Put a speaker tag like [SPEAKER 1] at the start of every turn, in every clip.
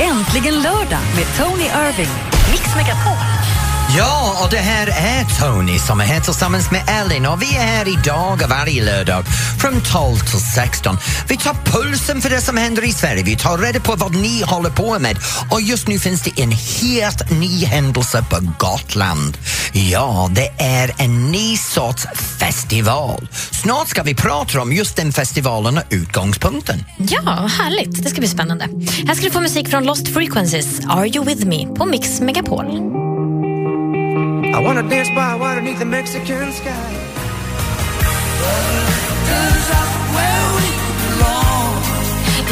[SPEAKER 1] Äntligen lördag med Tony Irving. Mix Megapol.
[SPEAKER 2] Ja, och det här är Tony som är här tillsammans med Ellen och vi är här idag och varje lördag från 12 till 16. Vi tar pulsen för det som händer i Sverige, vi tar reda på vad ni håller på med och just nu finns det en helt ny händelse på Gotland. Ja, det är en ny sorts festival. Snart ska vi prata om just den festivalen och utgångspunkten.
[SPEAKER 3] Ja, härligt. Det ska bli spännande. Här ska du få musik från Lost Frequencies, Are You With Me, på Mix Megapol.
[SPEAKER 4] I wanna dance by water beneath the Mexican sky.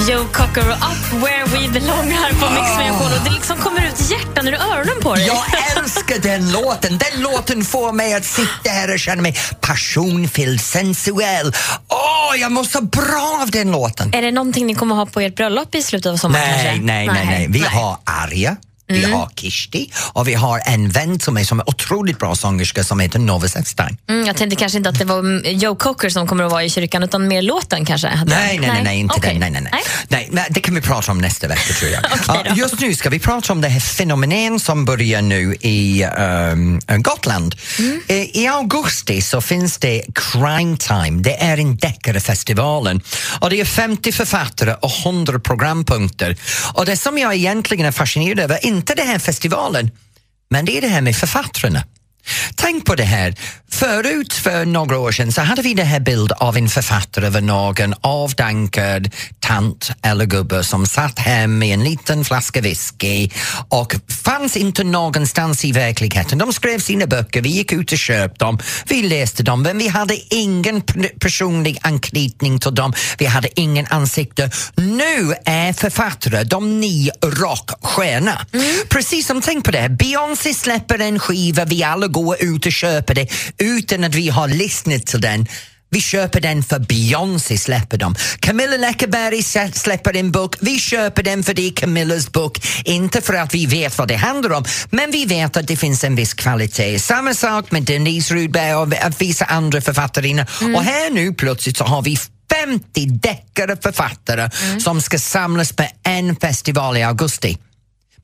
[SPEAKER 3] Joe Cocker och Up Where We Belong här på
[SPEAKER 2] Ah.
[SPEAKER 3] Mix Megapol. Och det liksom kommer ut hjärtan ur öronen på dig.
[SPEAKER 2] Jag älskar den låten! Den låten får mig att sitta här och känna mig passionfylld, sensuell. Åh, jag mår så bra av den låten!
[SPEAKER 3] Är det någonting ni kommer ha på ert bröllop i slutet av sommaren?
[SPEAKER 2] Nej,
[SPEAKER 3] kanske? Mm.
[SPEAKER 2] nej, nej, nej. Vi har Arja. Vi har Kishti och vi har en vän till mig som är otroligt bra sångerska som heter Nova Sexstein.
[SPEAKER 3] Mm, jag tänkte kanske inte att det var mm, Joe Cocker som kommer att vara i kyrkan utan mer låten kanske? hade jag.
[SPEAKER 2] Nej, nej, nej, nej, inte
[SPEAKER 3] Okej.
[SPEAKER 2] den. Nej, nej, nej. nej, men det kan vi prata om nästa vecka tror jag.
[SPEAKER 3] Okej då.
[SPEAKER 2] Ja, just nu ska vi prata om det här fenomenen som börjar nu i ehm, Gotland.
[SPEAKER 3] Mm.
[SPEAKER 2] Eh, I augusti så finns det Crime Time, det är en deckarfestivalen. Och det är 50 författare och 100 programpunkter. Och det som jag egentligen är fascinerad över, är inte den här festivalen, men det är det här med författarna. Tänk på det här. Förut, för några år sedan, så hade vi den här bild av en författare av någon avdankad tant eller gubbe som satt hem med en liten flaska whisky och fanns inte någonstans i verkligheten. De skrev sina böcker, vi gick ut och köpte dem, vi läste dem, men vi hade ingen pr- personlig anknytning till dem, vi hade ingen ansikte. Nu är författare de nya rockstjärna. Precis som, tänk på det, här, Beyoncé släpper en skiva, vi alla går ut och köper det utan att vi har lyssnat till den. Vi köper den för Beyoncé släpper dem. Camilla Läckberg sä- släpper en bok. Vi köper den för det är Camillas bok. Inte för att vi vet vad det handlar om, men vi vet att det finns en viss kvalitet. Samma sak med Denise Rudberg och vissa andra författarinnor. Och här nu plötsligt så har vi 50 deckare författare som ska samlas på en festival i augusti.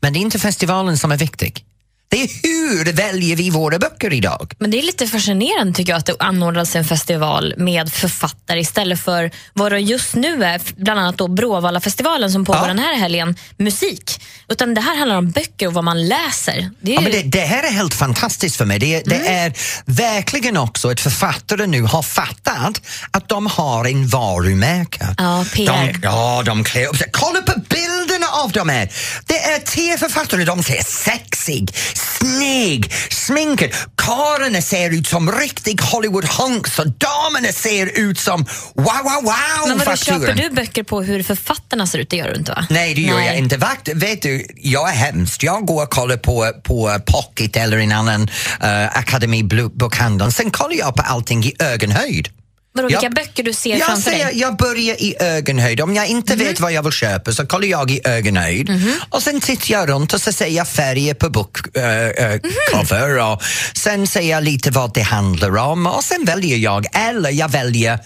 [SPEAKER 2] Men det är inte festivalen som är viktig. Det är hur väljer vi våra böcker idag?
[SPEAKER 3] Men det är lite fascinerande tycker jag att det anordnas en festival med författare istället för vad det just nu är, bland annat då Bråvalla-festivalen som pågår
[SPEAKER 2] Ja.
[SPEAKER 3] den här helgen, musik. Utan det här handlar om böcker och vad man läser. Det är ju...
[SPEAKER 2] Ja,
[SPEAKER 3] Mm.
[SPEAKER 2] men det, det här är helt fantastiskt för mig. Det, det är verkligen också att författare nu har fattat att de har en varumärke.
[SPEAKER 3] Ja, PR.
[SPEAKER 2] De, ja, de klär upp sig. Kolla på bilderna av dem här! Det är te-författare, de ser sexig, snygg, sminkad. Karlarna ser ut som riktig Hollywood-hunks och damerna ser ut som wow, wow, wow
[SPEAKER 3] Men vadå,
[SPEAKER 2] fakturan.
[SPEAKER 3] köper du böcker på hur författarna ser ut? Det gör du inte va?
[SPEAKER 2] Nej, det gör jag inte. Vakt, vet du, jag är hemskt. Jag går och kollar på, på Pocket eller en annan uh, Academy Blu- bokhandeln. Sen kollar jag på allting i ögonhöjd.
[SPEAKER 3] Vadå,
[SPEAKER 2] Ja.
[SPEAKER 3] vilka böcker du ser
[SPEAKER 2] Jag,
[SPEAKER 3] framför
[SPEAKER 2] säger,
[SPEAKER 3] dig? Mhm.
[SPEAKER 2] jag börjar i ögonhöjd. Om jag inte vet vad jag vill köpa så kollar jag i ögonhöjd. Och sen tittar jag runt och så säger jag färger på
[SPEAKER 3] Mhm.
[SPEAKER 2] bookcover. och Sen säger jag lite vad det handlar om och sen väljer jag, eller jag väljer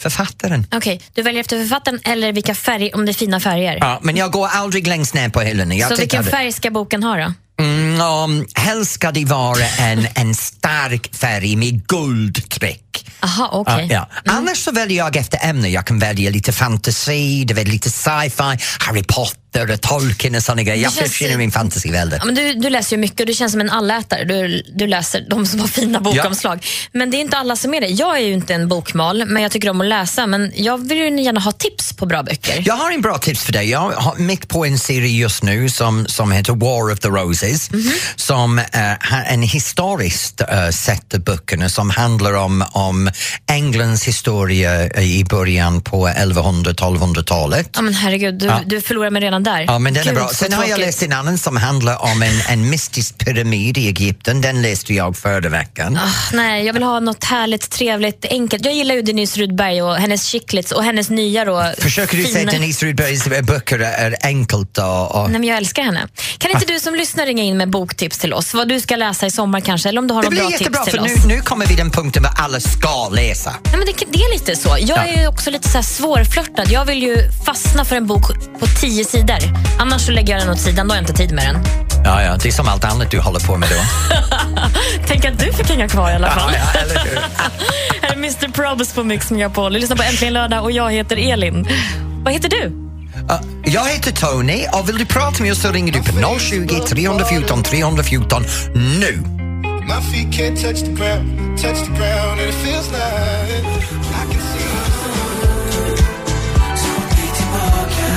[SPEAKER 2] författaren.
[SPEAKER 3] Okej, du väljer efter författaren eller vilka färger, om det är fina färger.
[SPEAKER 2] Ja, men jag går aldrig längst ner på hyllorna. Jag
[SPEAKER 3] Så vilken
[SPEAKER 2] tittar-
[SPEAKER 3] färg ska boken ha då?
[SPEAKER 2] Mm, um, helst ska det vara en, en stark färg med guldtryck.
[SPEAKER 3] Aha, okej.
[SPEAKER 2] Ja, ja. Annars så väljer jag efter ämne. Jag kan välja lite fantasi, det vill lite sci-fi, Harry Potter, och Tolkien och såna grejer. Jag
[SPEAKER 3] Det känns-
[SPEAKER 2] försvinner i min fantasivälde.
[SPEAKER 3] Ja, men du, du läser ju mycket och du känns som en allätare. Du, du läser de som har fina bokomslag. Men det är inte alla som är det. Jag är ju inte en bokmal, men jag tycker om att läsa. Men jag vill ju gärna ha tips på bra böcker.
[SPEAKER 2] Jag har en bra tips för dig. Jag har mitt på en serie just nu som, som heter War of the Roses som är en historiskt uh, sätt av böckerna som handlar om, om Englands historia i början på 1100-1200-talet.
[SPEAKER 3] Ja, men herregud, du, du förlorar mig redan där.
[SPEAKER 2] Ja, men den
[SPEAKER 3] Gud,
[SPEAKER 2] är bra.
[SPEAKER 3] så
[SPEAKER 2] Sen har jag
[SPEAKER 3] tråkigt.
[SPEAKER 2] läst en annan som handlar om en, en mystisk pyramid i Egypten. Den läste jag förra veckan.
[SPEAKER 3] Ah, Nej, jag vill ha något härligt, trevligt, enkelt. Jag gillar ju Denise Rudberg och hennes chicklets och hennes nya då.
[SPEAKER 2] Försöker du säga
[SPEAKER 3] fina-
[SPEAKER 2] att Denise Rudbergs böcker är enkelt? Och, och... Ah.
[SPEAKER 3] Nej, men jag älskar henne. Kan inte du som lyssnar ringa in med boktips till oss. Vad du ska läsa i sommar kanske, eller om du har
[SPEAKER 2] Det
[SPEAKER 3] några bra
[SPEAKER 2] blir
[SPEAKER 3] tips
[SPEAKER 2] jättebra,
[SPEAKER 3] till
[SPEAKER 2] för
[SPEAKER 3] oss.
[SPEAKER 2] nu, nu kommer vi den punkten där alla ska läsa.
[SPEAKER 3] Nej, men det, det är lite så. Jag
[SPEAKER 2] Ja.
[SPEAKER 3] är ju också lite så här svårflörtad. Jag vill ju fastna för en bok på tio sidor. Annars så lägger jag den åt sidan, då har jag inte tid med den.
[SPEAKER 2] Ja, ja, det är som allt annat du håller på med då.
[SPEAKER 3] Tänk att du fick hänga kvar i alla fall.
[SPEAKER 2] ja, eller hur?
[SPEAKER 3] Här är Mr Probs på Mix Megapol. Du lyssnar på Äntligen lördag och jag heter Elin. Vad heter du?
[SPEAKER 2] Ja, Jag heter Tony och vill du prata med oss så ringer du på 020 314 314 nu.
[SPEAKER 5] My feet can't touch the ground, touch the ground, and it feels like I can see.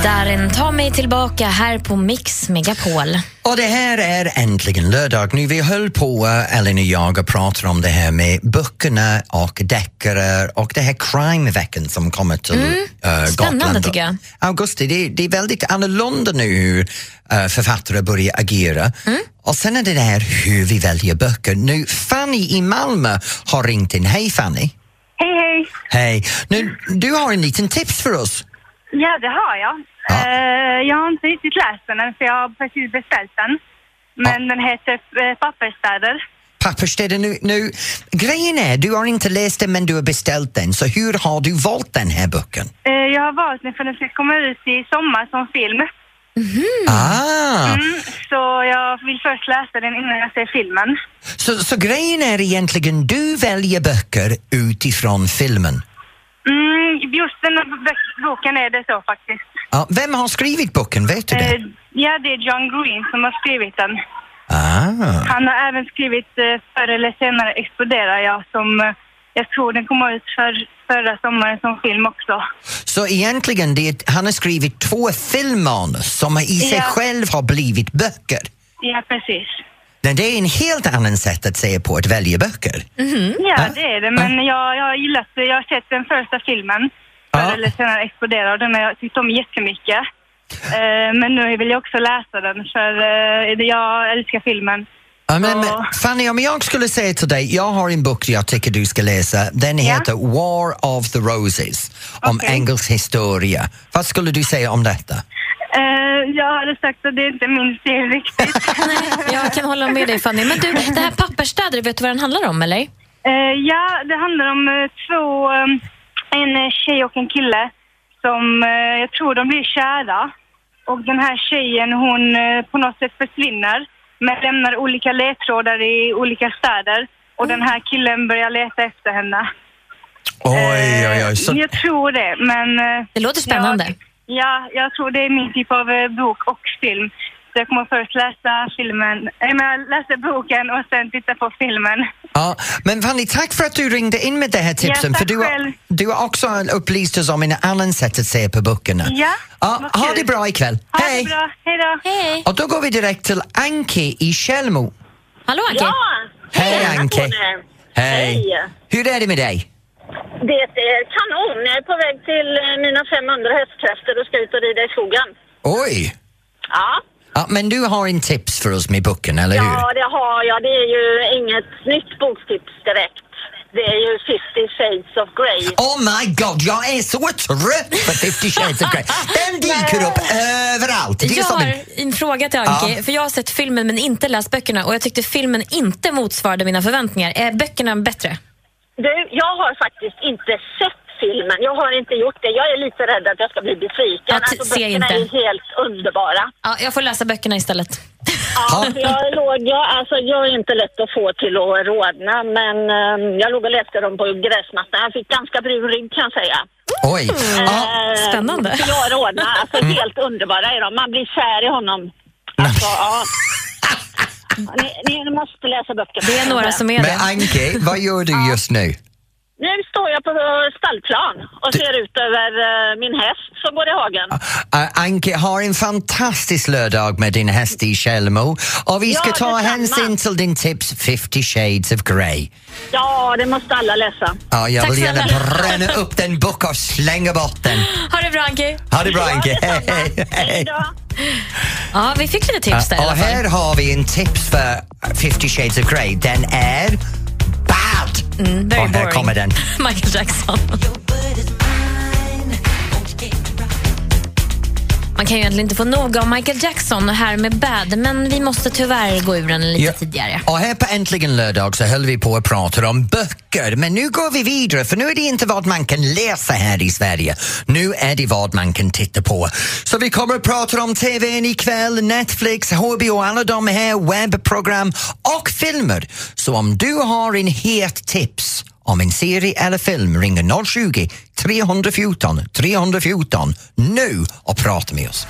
[SPEAKER 3] Darin, ta mig tillbaka här på Mix Megapol.
[SPEAKER 2] Och det här är äntligen lördag. Nu vi höll på, eh, Ellen och jag, och pratade om det här med böckerna och deckare och det här crime-veckan som kommer till mm.
[SPEAKER 3] Spännande, tycker jag.
[SPEAKER 2] Augusti, det, det är väldigt annorlunda nu hur eh, författare börjar agera.
[SPEAKER 3] Mm.
[SPEAKER 2] Och sen är det det här hur vi väljer böcker. Nu, Fanny i Malmö har ringt in. Hej Fanny!
[SPEAKER 6] Hej, hej.
[SPEAKER 2] Hej! Nu, du har en liten tips för oss.
[SPEAKER 6] Ja, det har jag.
[SPEAKER 2] Ja.
[SPEAKER 6] Eh, jag har inte riktigt läst den än, för jag har precis beställt den. Men den heter eh, Pappersstäder.
[SPEAKER 2] Pappersstäder nu, nu. Grejen är, du har inte läst den men du har beställt den. Så hur har du valt den här boken?
[SPEAKER 6] Eh, jag har valt den för den ska komma ut i sommar som film.
[SPEAKER 2] Ah!
[SPEAKER 6] Mm, så jag vill först läsa den innan jag ser filmen.
[SPEAKER 2] Så, så grejen är egentligen, du väljer böcker utifrån filmen.
[SPEAKER 6] Mm, just den här bö- boken är det så faktiskt.
[SPEAKER 2] Ja, vem har skrivit boken, vet du
[SPEAKER 6] Eh,
[SPEAKER 2] det?
[SPEAKER 6] ja, det är John Green som har skrivit den.
[SPEAKER 2] Ah.
[SPEAKER 6] Han har även skrivit eh, Förr eller senare exploderar jag som eh, jag tror den kom ut för, förra sommaren som film också.
[SPEAKER 2] Så egentligen, det, är- han har skrivit två filmmanus som i sig
[SPEAKER 6] Ja.
[SPEAKER 2] själv har blivit böcker.
[SPEAKER 6] Ja, precis.
[SPEAKER 2] Men det är en helt annan sätt att se på att välja böcker.
[SPEAKER 6] Ja,
[SPEAKER 2] Mhm. Ja.
[SPEAKER 6] det är det. Men jag, jag har gillat det. Jag har sett den första filmen, Förr
[SPEAKER 2] Ja.
[SPEAKER 6] eller senare exploderar, och den har jag tyckt om jättemycket. Eh, men nu vill jag också läsa den, för eh, det- jag älskar filmen.
[SPEAKER 2] Ja, men,
[SPEAKER 6] Ja.
[SPEAKER 2] Fanny, om jag skulle säga till dig, jag har en bok jag tycker du ska läsa. Den heter War of the Roses, om
[SPEAKER 6] Okej.
[SPEAKER 2] engelsk historia. Vad skulle du säga om detta?
[SPEAKER 6] Eh, jag hade sagt att det är inte min stil riktigt.
[SPEAKER 3] Jag kan hålla med dig Fanny. Men du, det här pappersstäder, vet du vad den handlar om eller?
[SPEAKER 6] Eh, ja, det handlar om eh, två, eh, en eh, tjej och en kille som eh, jag tror de blir kära. Och den här tjejen hon eh, på något sätt försvinner men lämnar olika ledtrådar i olika städer. Och den här killen börjar leta efter henne. Eh,
[SPEAKER 2] Oj, oj, oj. Så,
[SPEAKER 6] Jag tror det, men... eh,
[SPEAKER 3] Det låter spännande.
[SPEAKER 6] Jag, ja, jag tror det är min typ av eh, bok och film. Så jag kommer först läsa filmen, äh, men läsa boken och sen titta på filmen.
[SPEAKER 2] ja. Men Fanny, tack för att du ringde in med det här tipsen.
[SPEAKER 6] tack
[SPEAKER 2] för du, har,
[SPEAKER 6] själv.
[SPEAKER 2] du har också upplyst oss om en annan sätt att se på böckerna.
[SPEAKER 6] Ja, vad
[SPEAKER 2] ha
[SPEAKER 6] kul.
[SPEAKER 2] det bra ikväll.
[SPEAKER 6] Ha
[SPEAKER 2] Hej!
[SPEAKER 6] det bra, hej då!
[SPEAKER 3] Hej.
[SPEAKER 2] Och då går vi direkt till Anki i Tjällmo.
[SPEAKER 3] Hallå Anki.
[SPEAKER 7] Ja!
[SPEAKER 2] Hej Anki!
[SPEAKER 7] Hon är.
[SPEAKER 2] Hej!
[SPEAKER 7] Hej.
[SPEAKER 2] Hur är det med dig?
[SPEAKER 7] Det är kanon! Jag är på väg till eh, mina 500 hästkrafter och ska ut och rida i skogen.
[SPEAKER 2] Oj!
[SPEAKER 7] Ja.
[SPEAKER 2] Ja, men du har en tips för oss med boken, eller hur?
[SPEAKER 7] ja, det har jag. Det är ju inget nytt boktips direkt. Det är ju 50 shades of grey.
[SPEAKER 2] Oh my god, jag är så trött på 50 shades of grey. Den dyker upp överallt. Det är
[SPEAKER 3] Jag
[SPEAKER 2] som en...
[SPEAKER 3] har en fråga till Anki,
[SPEAKER 2] Ja.
[SPEAKER 3] för jag har sett filmen men inte läst böckerna och jag tyckte filmen inte motsvarade mina förväntningar. Är böckerna bättre?
[SPEAKER 7] Du, jag har faktiskt inte sett filmen. Jag har inte gjort det. Jag är lite rädd att jag ska bli besviken. Alltså,
[SPEAKER 3] Ja, t- se
[SPEAKER 7] böckerna
[SPEAKER 3] inte.
[SPEAKER 7] är helt underbara.
[SPEAKER 3] Ja, jag får läsa böckerna istället.
[SPEAKER 7] Ja, för jag, låg, jag, alltså, jag är inte lätt att få till att rodna, men eh, jag låg och läste dem på gräsmattan. Jag fick ganska brun rygg kan jag säga.
[SPEAKER 2] Oj. Ja,
[SPEAKER 7] Eh,
[SPEAKER 3] Spännande.
[SPEAKER 7] för Jag rodna, alltså helt underbara är de. Man blir kär i honom. Alltså, ja. Ni, ni måste läsa böckerna.
[SPEAKER 3] Det är några som är
[SPEAKER 2] men
[SPEAKER 3] det.
[SPEAKER 2] Anki, vad gör du just nu?
[SPEAKER 7] Nu står jag på stallplan och ser ut över eh, min häst som går i hagen.
[SPEAKER 2] Uh, Anki, ha en fantastisk lördag med din häst i Tjällmo. Och vi ska
[SPEAKER 7] Ja,
[SPEAKER 2] ta
[SPEAKER 7] detsamma.
[SPEAKER 2] hänsyn till din tips 50 shades of grey.
[SPEAKER 7] Ja, det måste alla läsa.
[SPEAKER 2] Ja, jag
[SPEAKER 3] Tack
[SPEAKER 2] vill gärna
[SPEAKER 3] snälla.
[SPEAKER 2] bränna upp den boken och slänga bort den.
[SPEAKER 3] Ha det bra Anki.
[SPEAKER 2] Ha det bra Anki, hej!
[SPEAKER 7] Hej
[SPEAKER 2] hej.
[SPEAKER 7] då.
[SPEAKER 3] Ja, vi fick lite tips där i
[SPEAKER 2] Och
[SPEAKER 3] alla fall.
[SPEAKER 2] här har vi en tips för 50 shades of grey. Den är bad!
[SPEAKER 3] Mm, Very
[SPEAKER 2] och här
[SPEAKER 3] boring.
[SPEAKER 2] kommer den.
[SPEAKER 3] Michael Jackson. Man kan ju egentligen inte få nog av Michael Jackson och här med Bad, men vi måste tyvärr gå ur den lite
[SPEAKER 2] Ja.
[SPEAKER 3] tidigare.
[SPEAKER 2] Och här på Äntligen lördag så höll vi på att prata om böcker, men nu går vi vidare för nu är det inte vad man kan läsa här i Sverige. Nu är det vad man kan titta på. Så vi kommer att prata om TVn ikväll, Netflix, HBO, alla de här webbprogram och filmer. Så om du har en het tips om en serie eller film ringer 020 314 314 nu och prata med oss.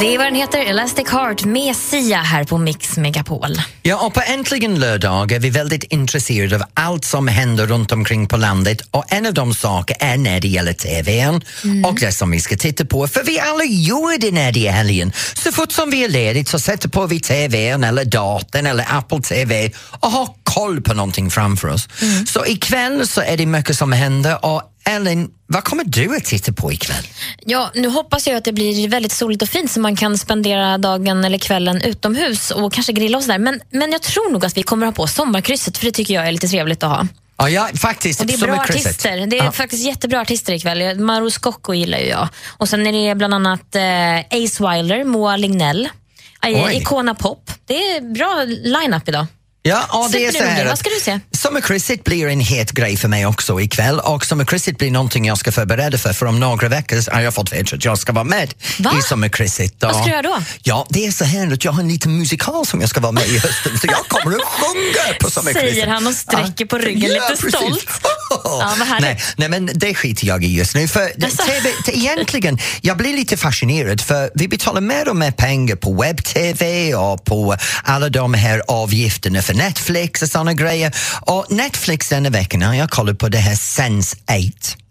[SPEAKER 3] Det är vad den heter, Elastic Heart med Sia här på Mix Megapol.
[SPEAKER 2] Ja, och på Äntligen lördag är vi väldigt intresserade av allt som händer runt omkring på landet och en av de saker är när det gäller TVn
[SPEAKER 3] Mm.
[SPEAKER 2] och det som vi ska titta på. För vi alla gör det när det är helgen. Så fort som vi är ledigt så sätter på vi TVn eller datorn eller Apple TV och har koll på någonting framför oss.
[SPEAKER 3] Mm.
[SPEAKER 2] Så ikväll så är det mycket som händer och Ellen, vad kommer du att titta på ikväll?
[SPEAKER 3] Ja, nu hoppas jag att det blir väldigt soligt och fint så man kan spendera dagen eller kvällen utomhus och kanske grilla och sådär. Men, men jag tror nog att vi kommer ha på sommarkrysset för det tycker jag är lite trevligt att ha.
[SPEAKER 2] Ja, ja faktiskt.
[SPEAKER 3] Och det är bra
[SPEAKER 2] sommarkrysset.
[SPEAKER 3] artister. Det är
[SPEAKER 2] Ja.
[SPEAKER 3] faktiskt jättebra artister ikväll. Maro Scocco gillar ju jag. Och sen är det bland annat eh, Ace Wilder, Moa Lignell, eh,
[SPEAKER 2] Oj.
[SPEAKER 3] Icona Pop. Det är bra line-up idag.
[SPEAKER 2] Ja, och det är
[SPEAKER 3] Superduper.
[SPEAKER 2] så här.
[SPEAKER 3] Vad ska du se?
[SPEAKER 2] Sommarkrysset blir en het grej för mig också ikväll och sommarkrysset blir någonting jag ska förbereda för för om några veckor så har jag fått veta att jag ska vara med
[SPEAKER 3] Va?
[SPEAKER 2] i sommarkrysset.
[SPEAKER 3] Vad ska du göra då?
[SPEAKER 2] Ja, det är så här att jag har en liten musikal som jag ska vara med i hösten så jag kommer att sjunga på sommarkrysset.
[SPEAKER 3] Säger han och sträcker på ryggen
[SPEAKER 2] ja,
[SPEAKER 3] lite
[SPEAKER 2] precis.
[SPEAKER 3] stolt. Ja, vad härligt.
[SPEAKER 2] nej, nej, men det skiter jag i just nu. För
[SPEAKER 3] Jaså?
[SPEAKER 2] TV, t- egentligen, jag blir lite fascinerad för vi betalar mer och mer pengar på webb-tv och på alla de här avgifterna för Netflix och såna grejer. Och Netflix denna veckan har jag kollat på det här Sense 8.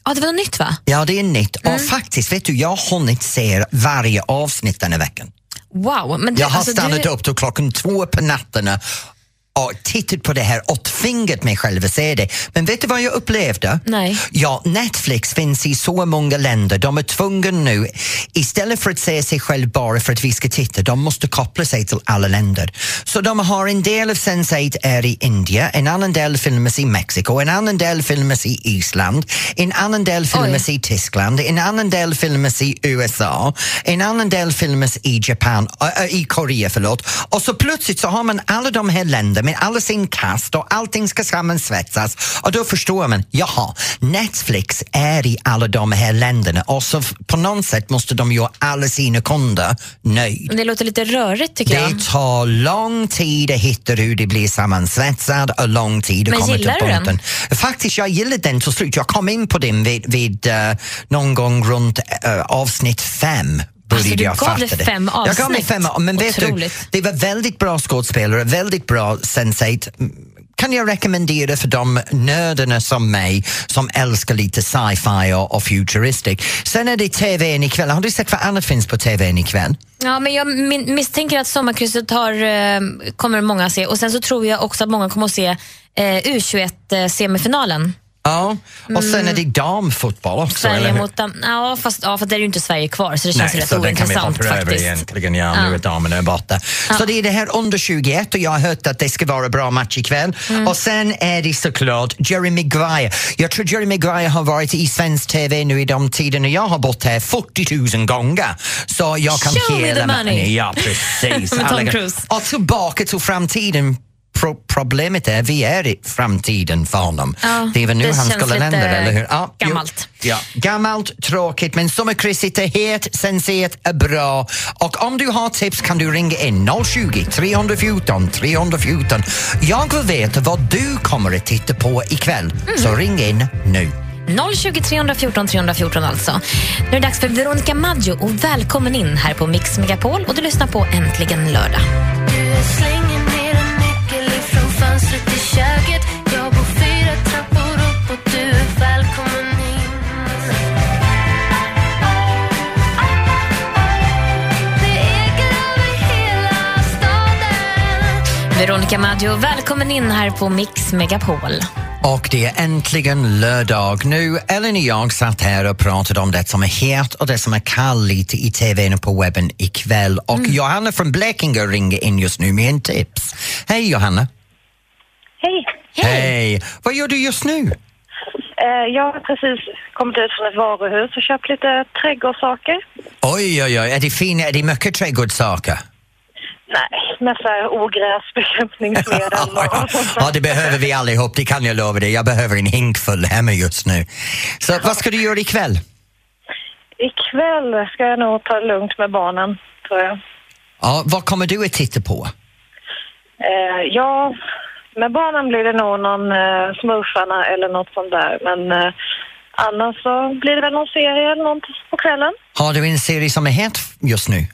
[SPEAKER 3] Ja, det var något nytt va?
[SPEAKER 2] Ja, det är nytt.
[SPEAKER 3] Mm.
[SPEAKER 2] Och faktiskt, vet du, jag har hunnit se varje avsnitt denna veckan.
[SPEAKER 3] Wow. Men du,
[SPEAKER 2] Jag har
[SPEAKER 3] alltså,
[SPEAKER 2] stannat
[SPEAKER 3] du...
[SPEAKER 2] upp till klockan två på nätterna och tittat på det här och tvingat mig själv att se det. Men vet du vad jag upplevde?
[SPEAKER 3] Nej.
[SPEAKER 2] Ja, Netflix finns i så många länder. De är tvungna nu, istället för att se sig själv bara för att vi ska titta, de måste koppla sig till alla länder. Så de har en del av Sense8 är i Indien, en annan del filmas i Mexiko, en annan del filmas i Island, en annan del filmas i Tyskland, en annan del filmas i USA, en annan del filmas i Japan, äh, äh, i Korea förlåt. Och så plötsligt så har man alla de här länderna med alla sin kast och allting ska sammansvetsas och då förstår man, jaha, Netflix är i alla de här länderna och så f- på något sätt måste de göra alla sina kunder nöjda.
[SPEAKER 3] Det låter lite rörigt tycker jag.
[SPEAKER 2] Det tar lång tid att hitta hur det blir sammansvetsad och lång tid att
[SPEAKER 3] Men
[SPEAKER 2] komma till
[SPEAKER 3] gillar du den?
[SPEAKER 2] punkten. Faktiskt, jag gillade den till slut. Jag kom in på den vid, vid eh, någon gång runt eh, avsnitt fem.
[SPEAKER 3] Alltså,
[SPEAKER 2] började
[SPEAKER 3] du
[SPEAKER 2] jag
[SPEAKER 3] gav
[SPEAKER 2] fatta
[SPEAKER 3] det fem
[SPEAKER 2] Jag gav mig fem
[SPEAKER 3] avsnitt.
[SPEAKER 2] Men vet
[SPEAKER 3] Otroligt.
[SPEAKER 2] du, det var väldigt bra skådespelare, väldigt bra sensate. Mm, Kan jag rekommendera för de nördarna som mig som älskar lite sci-fi och, och futuristic. Sen är det TVn ikväll. Har du sett vad annat finns på TVn ikväll?
[SPEAKER 3] Ja, men jag min- misstänker att sommarkrysset har, eh, kommer många att se. Och sen så tror jag också att många kommer att se eh, U21-semifinalen.
[SPEAKER 2] Ja, och sen är det damfotboll också.
[SPEAKER 3] Mm. Sverige
[SPEAKER 2] eller hur?
[SPEAKER 3] mot... Dam- Ja, fast ja, för det är ju inte Sverige kvar så det känns rätt
[SPEAKER 2] så den kan vi
[SPEAKER 3] ointressant
[SPEAKER 2] hoppa över
[SPEAKER 3] faktiskt.
[SPEAKER 2] egentligen. Ja, nu
[SPEAKER 3] Ja.
[SPEAKER 2] är damerna borta. Så det är det här under 21 och jag har hört att det ska vara bra match ikväll.
[SPEAKER 3] Mm.
[SPEAKER 2] Och sen är det såklart Jerry Maguire. Jag tror Jerry Maguire har varit i svensk TV nu i de tiderna jag har bott här 40 000 gånger. Så jag kan
[SPEAKER 3] Show me
[SPEAKER 2] hela
[SPEAKER 3] the
[SPEAKER 2] ma-
[SPEAKER 3] money.
[SPEAKER 2] Ja, precis.
[SPEAKER 3] Med Tom
[SPEAKER 2] Alla-
[SPEAKER 3] Cruise.
[SPEAKER 2] Och tillbaka till framtiden. Pro- problemet är, vi är i framtiden för honom.
[SPEAKER 3] Ja,
[SPEAKER 2] det är väl nu
[SPEAKER 3] det
[SPEAKER 2] han
[SPEAKER 3] känns
[SPEAKER 2] skulle
[SPEAKER 3] lite
[SPEAKER 2] lända, eller hur? Ja, jo.
[SPEAKER 3] gammalt.
[SPEAKER 2] Ja, gammalt, tråkigt, men sommarkrysset är het, senset är bra. Och om du har tips kan du ringa in 020 314 314. Jag vill veta vad du kommer att titta på ikväll, så ring in nu.
[SPEAKER 3] 020 314 314 alltså. Nu är det dags för Veronica Maggio och välkommen in här på Mix Megapol och du lyssnar på Äntligen lördag. Veronica Maggio, välkommen in här på Mix Megapol.
[SPEAKER 2] Och det är äntligen lördag nu. Ellen och jag satt här och pratade om det som är het och det som är kall lite i tvn och på webben ikväll. Och Johanna från Blekinge ringer in just nu med en tips. Hej Johanna!
[SPEAKER 6] Hej!
[SPEAKER 2] Hej! Vad gör du just nu?
[SPEAKER 8] Eh, Jag har precis kommit ut från ett varuhus och köpt lite trädgårdssaker.
[SPEAKER 2] Oj, oj, oj. Är det fina, är det mycket trädgårdssaker?
[SPEAKER 8] Nej, massa ogräsbekämpningsmedel.
[SPEAKER 2] ja, ja, det behöver vi allihop, det kan jag lova dig. Jag behöver en hink full hemma just nu. Så vad ska du göra ikväll?
[SPEAKER 8] Ikväll ska jag nog ta det lugnt med barnen, tror jag.
[SPEAKER 2] Ja, vad kommer du att titta på?
[SPEAKER 8] Eh, ja, med barnen blir det nog någon eh, Smurfarna eller något sånt där. Men eh, annars så blir det väl någon serie eller något på kvällen.
[SPEAKER 2] Har du en serie som är het just nu?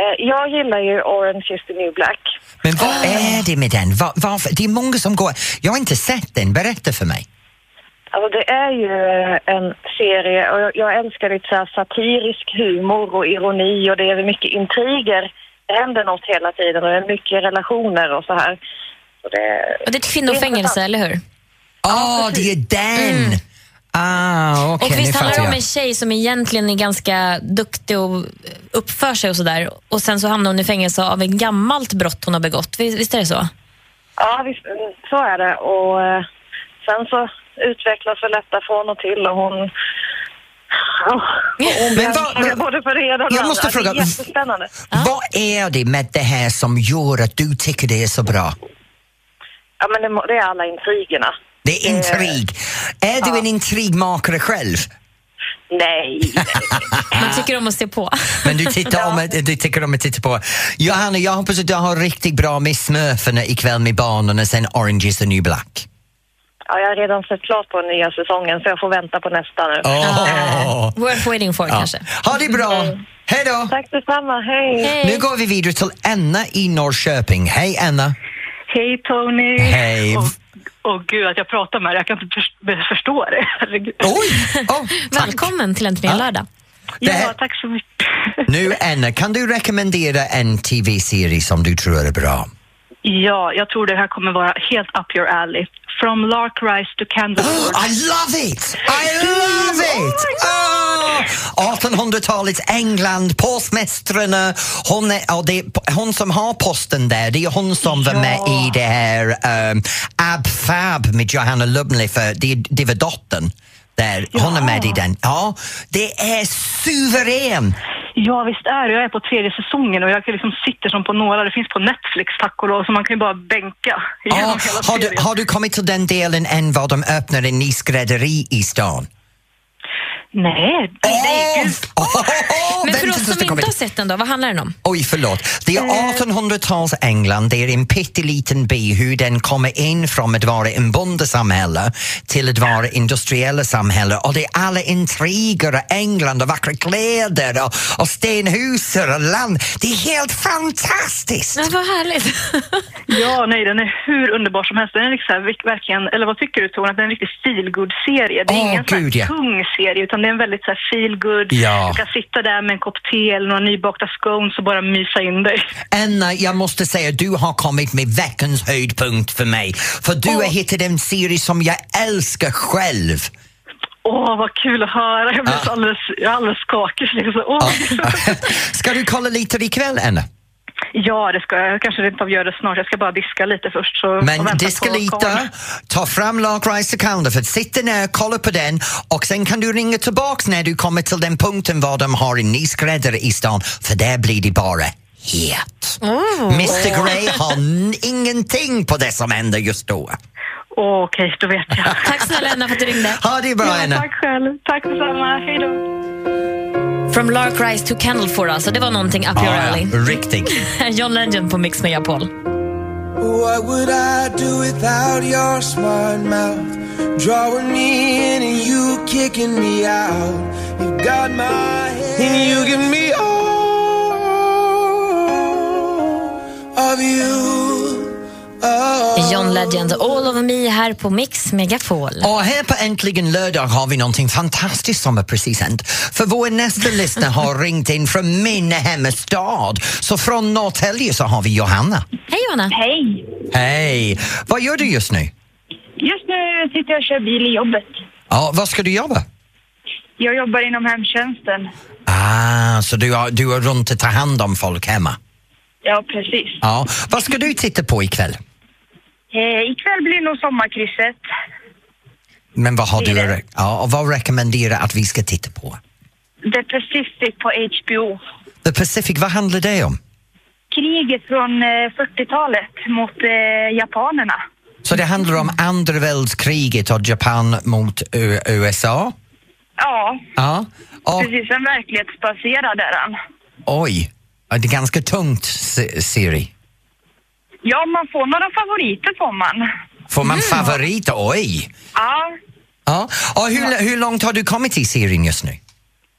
[SPEAKER 8] Eh, jag gillar ju Orange is the new black.
[SPEAKER 2] Men vad
[SPEAKER 3] Ah.
[SPEAKER 2] är det med den? Var, varför? Det är många som går... Jag har inte sett den, berätta för mig.
[SPEAKER 8] Alltså det är ju eh, en serie och jag, jag älskar lite så här satirisk humor och ironi och det är mycket intriger. Det händer något hela tiden och det är mycket relationer och så här. Så det,
[SPEAKER 3] Och det är ett kvinnofängelse, eller hur? Mm.
[SPEAKER 2] Åh, det är den! Ah, okej,
[SPEAKER 3] Och
[SPEAKER 2] nu
[SPEAKER 3] visst handlar
[SPEAKER 2] fattar
[SPEAKER 3] det om
[SPEAKER 2] jag.
[SPEAKER 3] en tjej som egentligen är ganska duktig och uppför sig och sådär. Och sen så hamnar hon i fängelse av ett gammalt brott hon har begått. Visst visst är det så?
[SPEAKER 8] Ja, visst, mm, så är det. Och eh, sen så utvecklas väl detta från och till och hon... Ja, hon blir
[SPEAKER 2] Men vad-
[SPEAKER 8] anklagad
[SPEAKER 2] men-
[SPEAKER 8] både för det ena och det
[SPEAKER 2] Jag måste
[SPEAKER 8] andra.
[SPEAKER 2] fråga-
[SPEAKER 8] Det är jättespännande.
[SPEAKER 2] Vad är det med det här som gör att du tycker det är så bra?
[SPEAKER 8] Ja, men det, må- det är alla intrigerna.
[SPEAKER 2] Det
[SPEAKER 3] Eh.
[SPEAKER 2] är intrig. Är du en intrigmakare själv?
[SPEAKER 8] Nej,
[SPEAKER 3] Man tycker om att se på.
[SPEAKER 2] Men du, tittar om, att- du tycker om att titta på. Johanna, jag hoppas att du har riktigt bra med smurfarna ikväll med barnen och sen Orange is the new black.
[SPEAKER 8] ja, jag har redan sett klart på den nya säsongen så jag får vänta på nästa nu.
[SPEAKER 2] Åh.
[SPEAKER 3] Worth waiting for
[SPEAKER 2] Ja.
[SPEAKER 3] kanske. Mm.
[SPEAKER 2] Ha det bra! Hej då!
[SPEAKER 8] Tack detsamma, hej!
[SPEAKER 2] Nu går vi vidare till Anna i Norrköping. Hej Anna!
[SPEAKER 9] Hej Tony!
[SPEAKER 2] Hej.
[SPEAKER 9] Och, och gud att jag pratar med dig, jag kan inte förs- förstå det. Herregud.
[SPEAKER 2] Oj! Oh, tack.
[SPEAKER 3] Välkommen till Äntligen
[SPEAKER 2] Ja.
[SPEAKER 3] lördag.
[SPEAKER 2] det
[SPEAKER 9] Ja,
[SPEAKER 2] här-
[SPEAKER 9] tack så mycket.
[SPEAKER 2] Nu Anna, kan du rekommendera en TV-serie som du tror är bra?
[SPEAKER 9] Ja, jag tror det här kommer vara helt up your alley. From Larkrise to Candlewood.
[SPEAKER 2] I love it! I love it! Oh 1800-talets England, postmästarna. Hon, är, ja, det är hon som har posten där, det är hon som var med i det här um, Ab Fab med Johanna Lumley, för det, det var dottern. Där. Hon är med i den. Ja, det är suverän!
[SPEAKER 9] Ja, visst är det. Jag är på tredje säsongen och jag kan liksom sitter som på nålar. Det finns på Netflix, tack och lov, så man kan ju bara bänka
[SPEAKER 2] Ja,
[SPEAKER 9] igenom hela
[SPEAKER 2] Ah, har, du,
[SPEAKER 9] serien.
[SPEAKER 2] har du kommit till den delen än vad de öppnar en ny skrädderi i stan?
[SPEAKER 9] Nej, nej, gud.
[SPEAKER 2] Åh! Åh,
[SPEAKER 3] Men för
[SPEAKER 2] vänta tills
[SPEAKER 3] oss
[SPEAKER 2] det
[SPEAKER 3] som
[SPEAKER 2] kommer
[SPEAKER 3] inte har
[SPEAKER 2] till-
[SPEAKER 3] sett den då, vad handlar den om?
[SPEAKER 2] Oj, förlåt. Det är
[SPEAKER 9] Eh.
[SPEAKER 2] 1800-tals England, det är en pytteliten by hur den kommer in från att vara en bondesamhälle till att vara industriella samhälle och det är alla intriger och England och vackra kläder och, och stenhus och land. Det är helt fantastiskt!
[SPEAKER 3] Men vad härligt.
[SPEAKER 9] Ja, nej, den är hur underbar som helst. Den är liksom så här, verk- verkligen, eller vad tycker du Tone, att den är en riktig feelgood-serie. Det är
[SPEAKER 2] Åh,
[SPEAKER 9] ingen så här
[SPEAKER 2] gud, ja.
[SPEAKER 9] tung serie, utan det är en väldigt så här feelgood.
[SPEAKER 2] Ja.
[SPEAKER 9] Du kan sitta där med en kopp te eller några nybakta scones och bara mysa in dig.
[SPEAKER 2] Anna, jag måste säga du har kommit med veckans höjdpunkt för mig. För du har hittat en serie som jag älskar själv. Ah.
[SPEAKER 9] Åh, vad kul att höra. Jag blir så alldeles, jag är alldeles skakig. Liksom. Åh.
[SPEAKER 2] Ska du kolla lite ikväll, Anna?
[SPEAKER 9] Ja, det ska jag. Jag kanske rent av gör det snart. Jag ska bara diska lite först. Så och
[SPEAKER 2] Men
[SPEAKER 9] vänta
[SPEAKER 2] diska
[SPEAKER 9] på karln.
[SPEAKER 2] lite, ta fram Larkrise Calendar för att sitta ner, kolla på den och sen kan du ringa tillbaks när du kommer till den punkten var de har en ny skräddare i stan för där blir det bara het. Mr Grey har n- ingenting på det som händer just då.
[SPEAKER 9] Åh, Okej, då vet jag.
[SPEAKER 3] Tack snälla Anna för att du ringde.
[SPEAKER 2] Ha det bra,
[SPEAKER 9] ja,
[SPEAKER 2] Anna.
[SPEAKER 9] tack själv. Tack detsamma. Hej då.
[SPEAKER 3] From Larkrise to Candlefor alltså, det var någonting up your
[SPEAKER 2] Ja,
[SPEAKER 3] alley.
[SPEAKER 2] ja, riktigt.
[SPEAKER 3] John Legend på Mix Megapol.
[SPEAKER 5] What would I do without your smart mouth? Drawing me in and you kicking me out. You got my head and you give me all of you. Oh.
[SPEAKER 3] John Legend, All of me här på Mix Megapol.
[SPEAKER 2] Och här på Äntligen lördag har vi någonting fantastiskt som har precis hänt. För vår nästa lyssnare har ringt in från min hemstad. Så från Norrtälje så har vi Johanna.
[SPEAKER 3] Hej Johanna.
[SPEAKER 8] Hej!
[SPEAKER 2] Hej! Vad gör du just nu?
[SPEAKER 8] Just nu sitter jag och kör bil i jobbet.
[SPEAKER 2] Ja, vad ska du jobba?
[SPEAKER 8] Jag jobbar inom hemtjänsten.
[SPEAKER 2] Ah, så du har, du har runt att ta hand om folk hemma?
[SPEAKER 8] Ja, precis.
[SPEAKER 2] Ja. Vad ska du titta på ikväll?
[SPEAKER 8] Eh, ikväll blir nog sommarkrysset.
[SPEAKER 2] Men vad har du att re- ja, och vad rekommenderar att vi ska titta på?
[SPEAKER 10] The Pacific
[SPEAKER 6] typ
[SPEAKER 10] på HBO.
[SPEAKER 2] The Pacific, vad handlar det om?
[SPEAKER 10] Kriget från eh, 40-talet mot eh, japanerna.
[SPEAKER 2] Så det handlar om andra världskriget och Japan mot U- USA?
[SPEAKER 10] Ja,
[SPEAKER 2] Ja. Och,
[SPEAKER 10] precis. En verklighetsbaserad är den.
[SPEAKER 2] oj, Ja, det är ganska tungt, se- Siri.
[SPEAKER 10] Ja, man får några favoriter får man.
[SPEAKER 2] Får man favoriter? Oj!
[SPEAKER 10] Ja,
[SPEAKER 2] Ja. Och hur, hur långt har du kommit i serien just nu?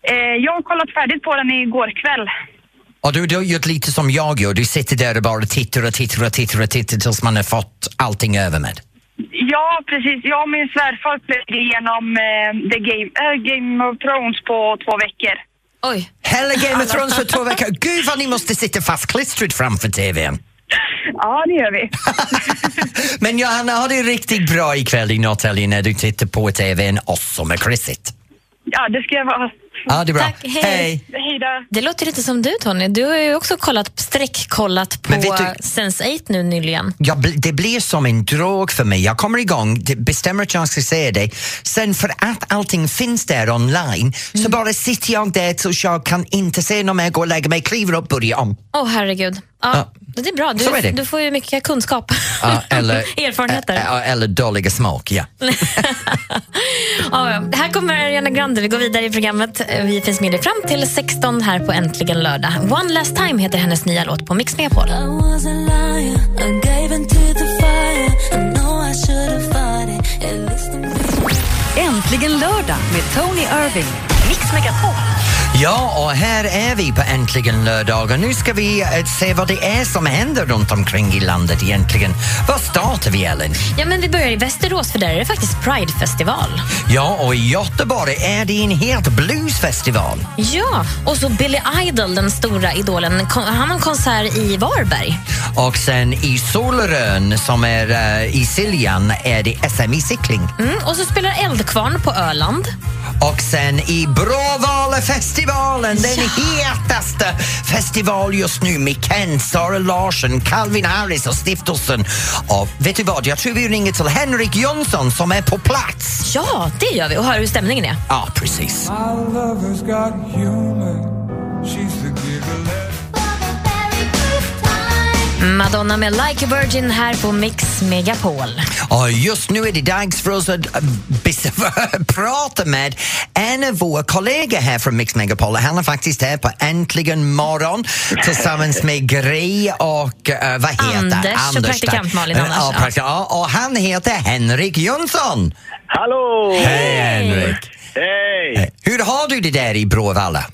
[SPEAKER 10] eh, jag har kollat färdigt på den igår kväll.
[SPEAKER 2] Och du, du har gjort lite som jag gör, du sitter där och bara tittar och tittar och tittar och tittar tills man har fått allting över med.
[SPEAKER 10] Ja, precis. Jag och min svärfar plöjde igenom eh, The Game, eh, Game of Thrones på två veckor.
[SPEAKER 3] Oj.
[SPEAKER 2] Hela Game of Thrones för två veckor. Gud vad ni måste sitta fastklistrad framför TVn.
[SPEAKER 10] Ja, det gör vi.
[SPEAKER 2] Men Johanna, har det riktigt bra ikväll i Norrtälje när du tittar på TVn och sommarkrysset.
[SPEAKER 10] Ja, det ska jag vara.
[SPEAKER 2] Ja, det är bra.
[SPEAKER 3] Tack, hej.
[SPEAKER 10] Hej då.
[SPEAKER 3] Det låter lite som du Tony. Du har ju också kollat, streckkollat på
[SPEAKER 2] Men vet du-
[SPEAKER 3] Sense8 nu nyligen.
[SPEAKER 2] Jag, bl- det blir som en drog för mig. Jag kommer igång, det- bestämmer att jag ska se det. Sen för att allting finns där online så bara sitter jag där tills jag kan inte se någon mer, gå och lägga mig, kliver upp, börja om.
[SPEAKER 3] Åh herregud. Ja, Det är bra, du,
[SPEAKER 2] Så är det.
[SPEAKER 3] du får ju mycket kunskap.
[SPEAKER 2] Ja,
[SPEAKER 3] Erfarenheter.
[SPEAKER 2] ä- ä- eller dåliga smak, ja.
[SPEAKER 3] Ja, ja. Här kommer Ariana Grande. Vi går vidare i programmet. Eh, Vi finns med dig fram till 16 här på Äntligen lördag. One last time heter hennes nya låt på Mix Megapol.
[SPEAKER 1] Äntligen lördag med Tony Irving. Mix Megapol.
[SPEAKER 2] Ja, och här är vi på Äntligen lördag och nu ska vi eh, se vad det är som händer runt omkring i landet egentligen. Var startar vi, Ellen?
[SPEAKER 3] Ja, men vi börjar i Västerås för där är det faktiskt Pridefestival.
[SPEAKER 2] Ja, och i Göteborg är det en helt bluesfestival.
[SPEAKER 3] Ja, och så Billy Idol, den stora idolen, kom, han har en konsert i Varberg.
[SPEAKER 2] Och sen i Solrön, som är eh, i Siljan, är det SM i cykling.
[SPEAKER 3] Mm, och så spelar Eldkvarn på Öland.
[SPEAKER 2] Och sen i Bråvalafestivalen, den hetaste festival just nu med Ken, Sara Larsson, Calvin Harris och Stiftelsen. Och vet du vad, jag tror vi ringer till Henrik Jönsson som är på plats.
[SPEAKER 3] Ja, det gör vi och hör hur stämningen är.
[SPEAKER 2] Ja, precis.
[SPEAKER 5] My lover's got humor. She's the giggle.
[SPEAKER 3] Madonna med Like a Virgin här på Mix Megapol.
[SPEAKER 2] Och just nu är det dags för oss att äh, bes- prata med en av våra kollegor här från Mix Megapol. Han är faktiskt här på Äntligen morgon tillsammans med Gry och äh, vad heter
[SPEAKER 3] Anders och
[SPEAKER 2] tack.
[SPEAKER 3] praktikant Malin annars,
[SPEAKER 2] Ja,
[SPEAKER 3] ja.
[SPEAKER 2] praktikant- ja, och han heter Henrik Jönsson.
[SPEAKER 11] Hallå!
[SPEAKER 2] Hej Henrik!
[SPEAKER 11] Hej!
[SPEAKER 2] Hur har du det där i Bråvalla?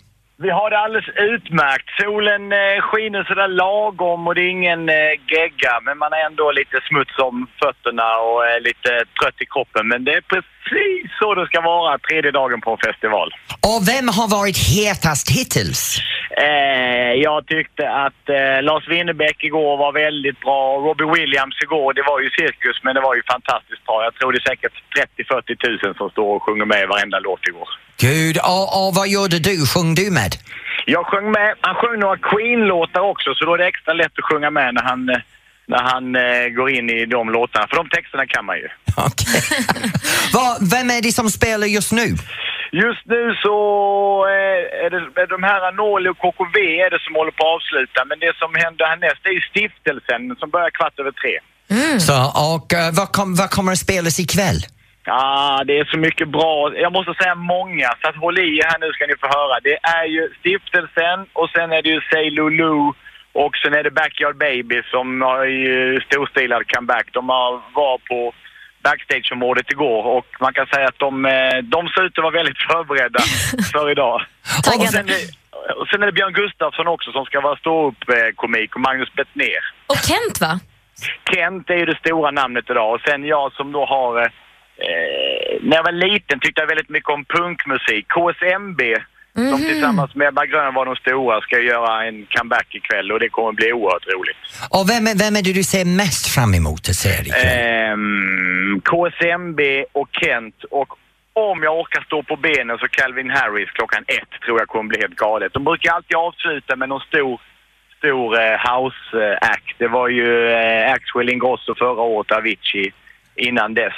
[SPEAKER 11] Vi har det alldeles utmärkt. Solen eh, skiner sådär lagom och det är ingen eh, gegga men man är ändå lite smuts om fötterna och är lite trött i kroppen. Men det är precis så det ska vara tredje dagen på festival.
[SPEAKER 2] Och vem har varit hetast hittills?
[SPEAKER 11] Eh, jag tyckte att eh, Lars Winnerbäck igår var väldigt bra. Robbie Williams igår, det var ju cirkus men det var ju fantastiskt bra. Jag tror det är säkert 30-40 000 som står och sjunger med i varenda låt igår.
[SPEAKER 2] Gud, och, och vad gjorde du? Sjöng du med?
[SPEAKER 11] Jag sjöng med, han sjöng några Queen-låtar också så då är det extra lätt att sjunga med när han, eh, när han eh, går in i de låtarna. För de texterna kan man ju.
[SPEAKER 2] Okej. Vad- vem är det som spelar just nu?
[SPEAKER 11] Just nu så eh, är det är de här Noli och KKV är det som håller på att avsluta. Men det som händer härnäst är ju stiftelsen som börjar kvart över tre.
[SPEAKER 3] Mm.
[SPEAKER 2] Så, och eh, vad, kom, vad kommer att spelas ikväll?
[SPEAKER 11] Ah, det är så mycket bra. Jag måste säga många, så att håll i er här nu ska ni få höra. Det är ju Stiftelsen och sen är det ju Say Lulu och sen är det Backyard Baby som har ju storstilad comeback. De har var på backstageområdet igår och man kan säga att de, eh, de ser ut att vara väldigt förberedda för idag. Och sen, är- och sen är det Björn Gustafsson också som ska vara ståuppkomik och Magnus Bettner.
[SPEAKER 3] Och Kent, va?
[SPEAKER 11] Kent är ju det stora namnet idag och sen jag som då har... eh, Eh, när jag var liten tyckte jag väldigt mycket om punkmusik. KSMB, som tillsammans med Ebba Grön var de stora, ska göra en comeback ikväll och det kommer bli oerhört roligt.
[SPEAKER 2] Och vem, är- vem är det du ser mest fram emot att se ikväll?
[SPEAKER 11] Ehm, KSMB och Kent och om jag orkar stå på benen så Calvin Harris klockan ett tror jag kommer bli helt galet. De brukar alltid avsluta med någon stor, stor eh, house-act. Det var ju eh, Axel Ingrosso förra året, Avicii, innan dess.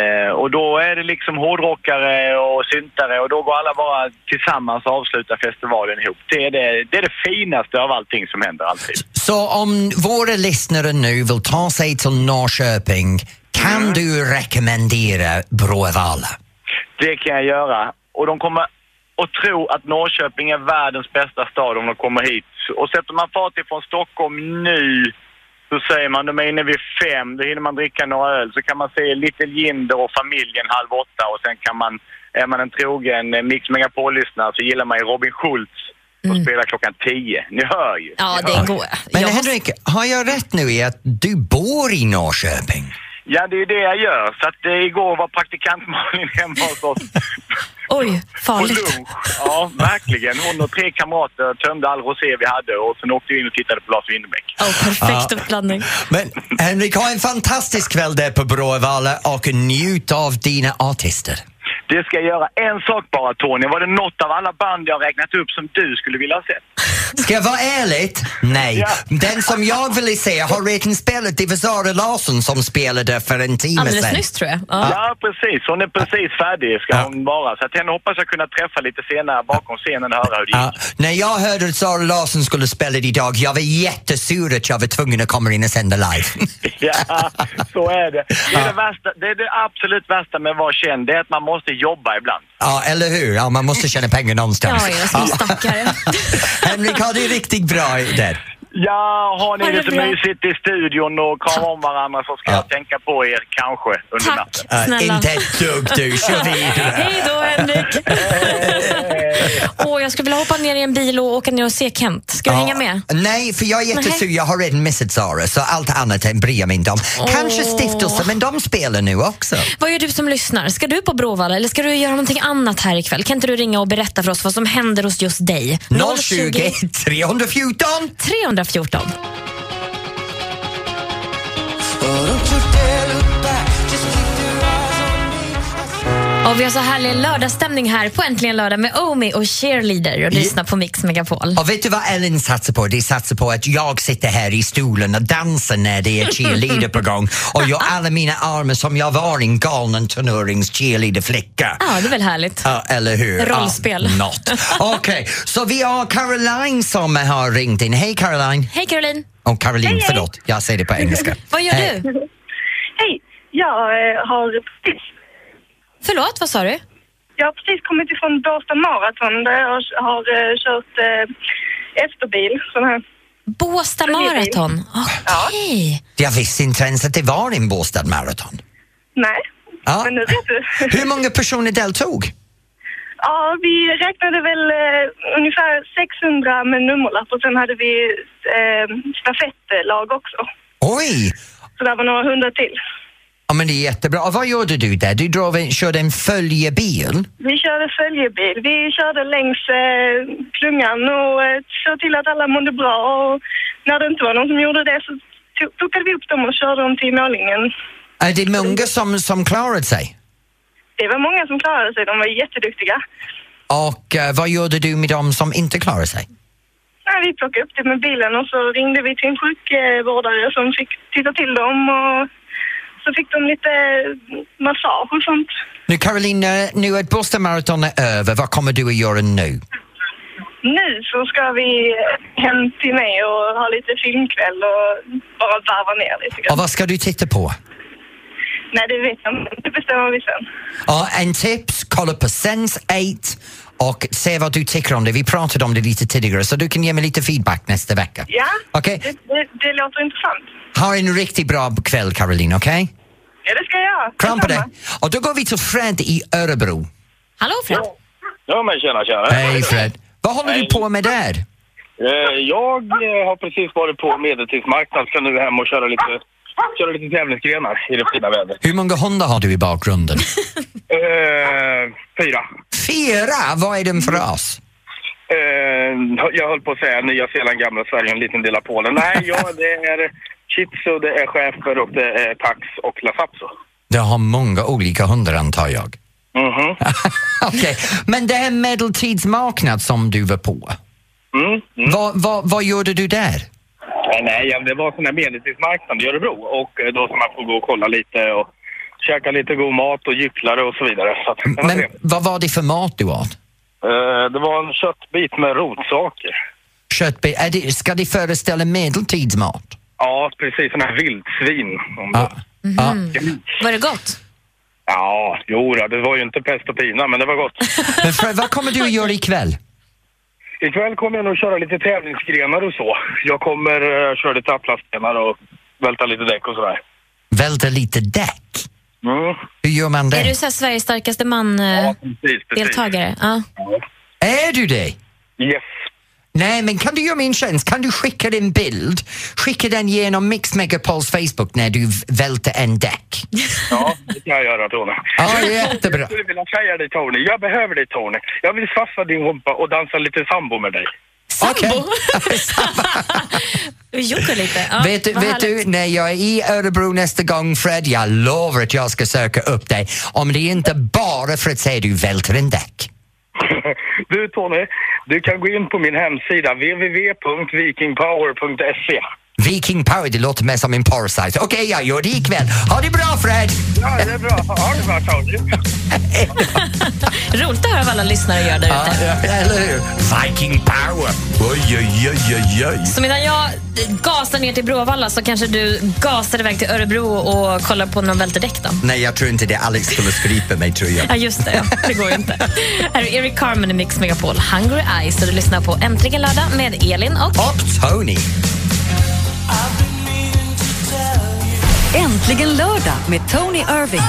[SPEAKER 11] Eh, och då är det liksom hårdrockare och syntare och då går alla bara tillsammans och avslutar festivalen ihop. Det är det, det, är det finaste av allting som händer alltid.
[SPEAKER 2] Så om våra lyssnare nu vill ta sig till Norrköping, kan
[SPEAKER 3] Mm.
[SPEAKER 2] du rekommendera Bråvalla?
[SPEAKER 11] Det kan jag göra. Och de kommer att tro att Norrköping är världens bästa stad om de kommer hit. Och sätter man fart ifrån Stockholm nu så säger man, de är inne vid fem, då hinner man dricka några öl. Så kan man se Little Jinder och familjen halv åtta och sen kan man, är man en trogen eh, Mix Megapol-lyssnare så gillar man ju Robin Schultz och spelar klockan tio. Ni hör ju.
[SPEAKER 3] Mm. Ja, det går.
[SPEAKER 2] Men Henrik, har jag rätt nu i att du bor i Norrköping?
[SPEAKER 11] Ja, det är det jag gör. Så att eh, igår var praktikant Malin hemma hos oss
[SPEAKER 3] Oj,
[SPEAKER 11] på
[SPEAKER 3] farligt.
[SPEAKER 11] lunch. Ja, verkligen. Hon och tre kamrater tömde all rosé vi hade och sen åkte vi in och tittade på Lars Winnerbäck.
[SPEAKER 3] Oh, perfekt
[SPEAKER 2] Ja.
[SPEAKER 3] uppladdning.
[SPEAKER 2] Men Henrik, ha en fantastisk kväll där på Bråvalla och njut av dina artister.
[SPEAKER 11] Det ska jag göra. En sak bara, Tony. Var det något av alla band jag har räknat upp som du skulle vilja ha sett?
[SPEAKER 2] Ska jag vara ärlig? Nej. Den som jag ville se har redan spelat, det var Sara Larsson som spelade för en timme
[SPEAKER 11] Alldeles
[SPEAKER 2] sedan.
[SPEAKER 11] nyss,
[SPEAKER 3] tror jag.
[SPEAKER 11] Ja. precis. Hon är precis färdig, ska hon vara. Så att henne hoppas jag kunna träffa lite senare bakom scenen och höra hur det gick.
[SPEAKER 2] Ja, när jag hörde att Sara Larsson skulle spela idag, jag var jättesur att jag var tvungen att komma in och sända live.
[SPEAKER 11] Ja, så är det. Det, är det, värsta, det är det absolut värsta med att vara känd, det är att man måste jobba ibland.
[SPEAKER 2] Ja, eller hur? Ja, man måste tjäna pengar någonstans.
[SPEAKER 11] Ja, jag ska
[SPEAKER 2] Ja. Henrik, ha det riktigt bra där.
[SPEAKER 11] Ja, har ni
[SPEAKER 2] Ha det
[SPEAKER 11] lite
[SPEAKER 2] bra.
[SPEAKER 11] mysigt i studion och krama om varandra så ska jag tänka på er kanske under natten.
[SPEAKER 2] Ja, Äh, inte ett dugg du, kör vidare.
[SPEAKER 3] Hej då, Henrik. Åh, jag skulle vilja hoppa ner i en bil och åka ner och se Kent. Ska du
[SPEAKER 2] Ja,
[SPEAKER 3] hänga med?
[SPEAKER 2] Nej, för jag är jättesur. Jag har redan missat Sara, så allt annat än bryr jag mig inte om. Kanske
[SPEAKER 3] Åh.
[SPEAKER 2] stiftelsen, men de spelar nu också.
[SPEAKER 3] Vad gör du som lyssnar? Ska du på Bråvalla eller ska du göra någonting annat här ikväll? Kan inte du ringa och berätta för oss vad som händer hos just dig?
[SPEAKER 2] 020 314
[SPEAKER 3] 314. Ja, vi har så härlig lördagsstämning här på Äntligen lördag med Omi och Cheerleader och lyssnar på Mix Megapol.
[SPEAKER 2] Och vet du vad Ellen satsar på? Det satsar på att jag sitter här i stolen och dansar när det är cheerleader på gång och jag alla mina armar som jag var en galen tonårings cheerleaderflicka.
[SPEAKER 3] Ja, det är väl härligt.
[SPEAKER 2] Ja, eller hur?
[SPEAKER 3] Rollspel.
[SPEAKER 2] Ja, något. Okej, så vi har Caroline som har ringt in. Hej Caroline!
[SPEAKER 3] Hej Caroline!
[SPEAKER 2] Åh Caroline, förlåt. Jag säger det på engelska.
[SPEAKER 3] Vad gör
[SPEAKER 2] Hej.
[SPEAKER 3] du?
[SPEAKER 12] Hej, jag eh, har precis...
[SPEAKER 3] Förlåt, vad sa du?
[SPEAKER 12] Jag har precis kommit ifrån Båstad Marathon där jag har eh, kört eh, efterbil. Sån här.
[SPEAKER 3] Båstad Marathon? Okej.
[SPEAKER 2] Jag visste inte ens att det var en Båstad Marathon.
[SPEAKER 12] Nej,
[SPEAKER 2] Ja.
[SPEAKER 12] men nu vet du.
[SPEAKER 2] Hur många personer deltog?
[SPEAKER 12] ja, vi räknade väl eh, ungefär 600 med nummerlapp och sen hade vi eh, stafettlag också.
[SPEAKER 2] Oj!
[SPEAKER 12] Så där var några hundra till.
[SPEAKER 2] Ja, men det är jättebra. Och vad gjorde du där? Du drog en, körde en följebil.
[SPEAKER 12] Vi körde följebil. Vi körde längs eh, klungan och eh, såg till att alla mådde bra. Och när det inte var någon som gjorde det så to- plockade vi upp dem och körde dem till målningen.
[SPEAKER 2] Är det många som, som klarat sig?
[SPEAKER 12] Det var många som klarade sig. De var jätteduktiga.
[SPEAKER 2] Och eh, vad gjorde du med dem som inte klarade sig?
[SPEAKER 12] Nej, vi plockade upp dem med bilen och så ringde vi till en sjukvårdare som fick titta till dem. Och så fick de lite eh, massage och sånt.
[SPEAKER 2] Nu Caroline, eh, nu att Boston Marathon är över, vad kommer du att göra nu?
[SPEAKER 12] Nu så ska vi hem till mig och ha lite filmkväll och bara varva ner lite
[SPEAKER 2] Och
[SPEAKER 12] grann.
[SPEAKER 2] vad ska du titta på?
[SPEAKER 12] Nej, det vet jag inte. Det bestämmer vi sen.
[SPEAKER 2] Ja, en tips, kolla på Sense 8 och se vad du tycker om det. Vi pratade om det lite tidigare så du kan ge mig lite feedback nästa vecka.
[SPEAKER 12] Ja,
[SPEAKER 2] Okej.
[SPEAKER 12] det, det, det låter intressant.
[SPEAKER 2] Ha en riktigt bra kväll Caroline, okej?
[SPEAKER 12] Ja, det ska jag göra.
[SPEAKER 2] Kram på dig! Och då går vi till Fred i Örebro.
[SPEAKER 3] Hallå Fred!
[SPEAKER 13] Ja men tjena tjena.
[SPEAKER 2] Hej Fred! Vad håller du på med där?
[SPEAKER 13] Eh, Jag eh, har precis varit på medeltidsmarknad, ska nu hem och köra lite, köra lite tävlingsgrenar i det fina vädret.
[SPEAKER 2] Hur många hundar har du i bakgrunden?
[SPEAKER 13] Eh, fyra.
[SPEAKER 2] Fyra? Vad är den för ras?
[SPEAKER 13] Eh, jag höll på att säga Nya Zeeland, gamla Sverige, en liten del av Polen. Nej, ja, det är chitsu, det är schäfer och det är tax och lasapso.
[SPEAKER 2] Du har många olika hundar antar jag.
[SPEAKER 13] Mhm.
[SPEAKER 2] Okej, men det här medeltidsmarknad som du var på,
[SPEAKER 13] Mm.
[SPEAKER 2] vad, vad, vad gjorde du där?
[SPEAKER 13] Nej, nej, ja, det var sån här medeltidsmarknad i Örebro och eh, då ska man få gå och kolla lite och käkade lite god mat och gycklade och så vidare. Så att, det var
[SPEAKER 2] Men
[SPEAKER 13] det.
[SPEAKER 2] vad var det för mat du åt?
[SPEAKER 13] Eh, det var en köttbit med rotsaker.
[SPEAKER 2] Köttbit? Är det, ska det föreställa medeltidsmat?
[SPEAKER 13] Ja, precis. Sån här vildsvin. Om Mm.
[SPEAKER 2] Ja. Ja.
[SPEAKER 3] Var det gott?
[SPEAKER 13] Ja, jo då, det var ju inte pest och pina, men det var gott.
[SPEAKER 2] Men Fred, vad kommer du att göra ikväll?
[SPEAKER 13] Ikväll kommer jag nog köra lite tävlingsgrenar och så. Jag kommer eh, köra lite atlasstenar och välta lite däck och sådär.
[SPEAKER 2] Välta lite däck?
[SPEAKER 13] Mm.
[SPEAKER 2] Hur gör man
[SPEAKER 3] Är
[SPEAKER 2] det?
[SPEAKER 3] du så här Sveriges starkaste man-deltagare?
[SPEAKER 13] Precis, precis.
[SPEAKER 3] Ja.
[SPEAKER 2] Är du det?
[SPEAKER 13] Yes.
[SPEAKER 2] Nej, men kan du göra mig en tjänst? Kan du skicka en bild? Skicka den genom Mix Megapols Facebook när du v- välter en däck.
[SPEAKER 13] Ja, det kan jag göra Tony.
[SPEAKER 2] Ja, jättebra.
[SPEAKER 13] Jag skulle vilja säga dig Tony, jag behöver dig Tony. Jag vill svaffa din rumpa och dansa lite sambo med dig.
[SPEAKER 2] Okej.
[SPEAKER 3] Du juckar lite. Ja,
[SPEAKER 2] vet du,
[SPEAKER 3] vad
[SPEAKER 2] vet du,
[SPEAKER 3] härligt.
[SPEAKER 2] när jag är i Örebro nästa gång, Fred, jag lovar att jag ska söka upp dig. Om det inte bara för att säga du välter en däck.
[SPEAKER 13] Du Tony, du kan gå in på min hemsida www.vikingpower.se.
[SPEAKER 2] Viking Power, det låter mer som en porrsajt. Okej, jag gör det ikväll. Ha det bra, Fred!
[SPEAKER 13] Ja, det är bra. Ha det bra Tony.
[SPEAKER 3] Roligt att höra vad alla lyssnare gör där ute.
[SPEAKER 2] eller hur? Viking Power! Oj, oj, oj, oj, oj.
[SPEAKER 3] Så medan jag gasar ner till Bråvalla så kanske du gasar iväg till Örebro och kollar på någon välterdäck då?
[SPEAKER 2] Nej, jag tror inte det. Alex skulle skrypa mig, tror jag.
[SPEAKER 3] Ja, just det. Ja. Det går ju inte. Här är Eric Carmen i Mix Megapol, Hungry Eyes, och du lyssnar på Äntligen lördag med Elin och...
[SPEAKER 2] Och Tony.
[SPEAKER 1] Äntligen lördag med Tony Irving.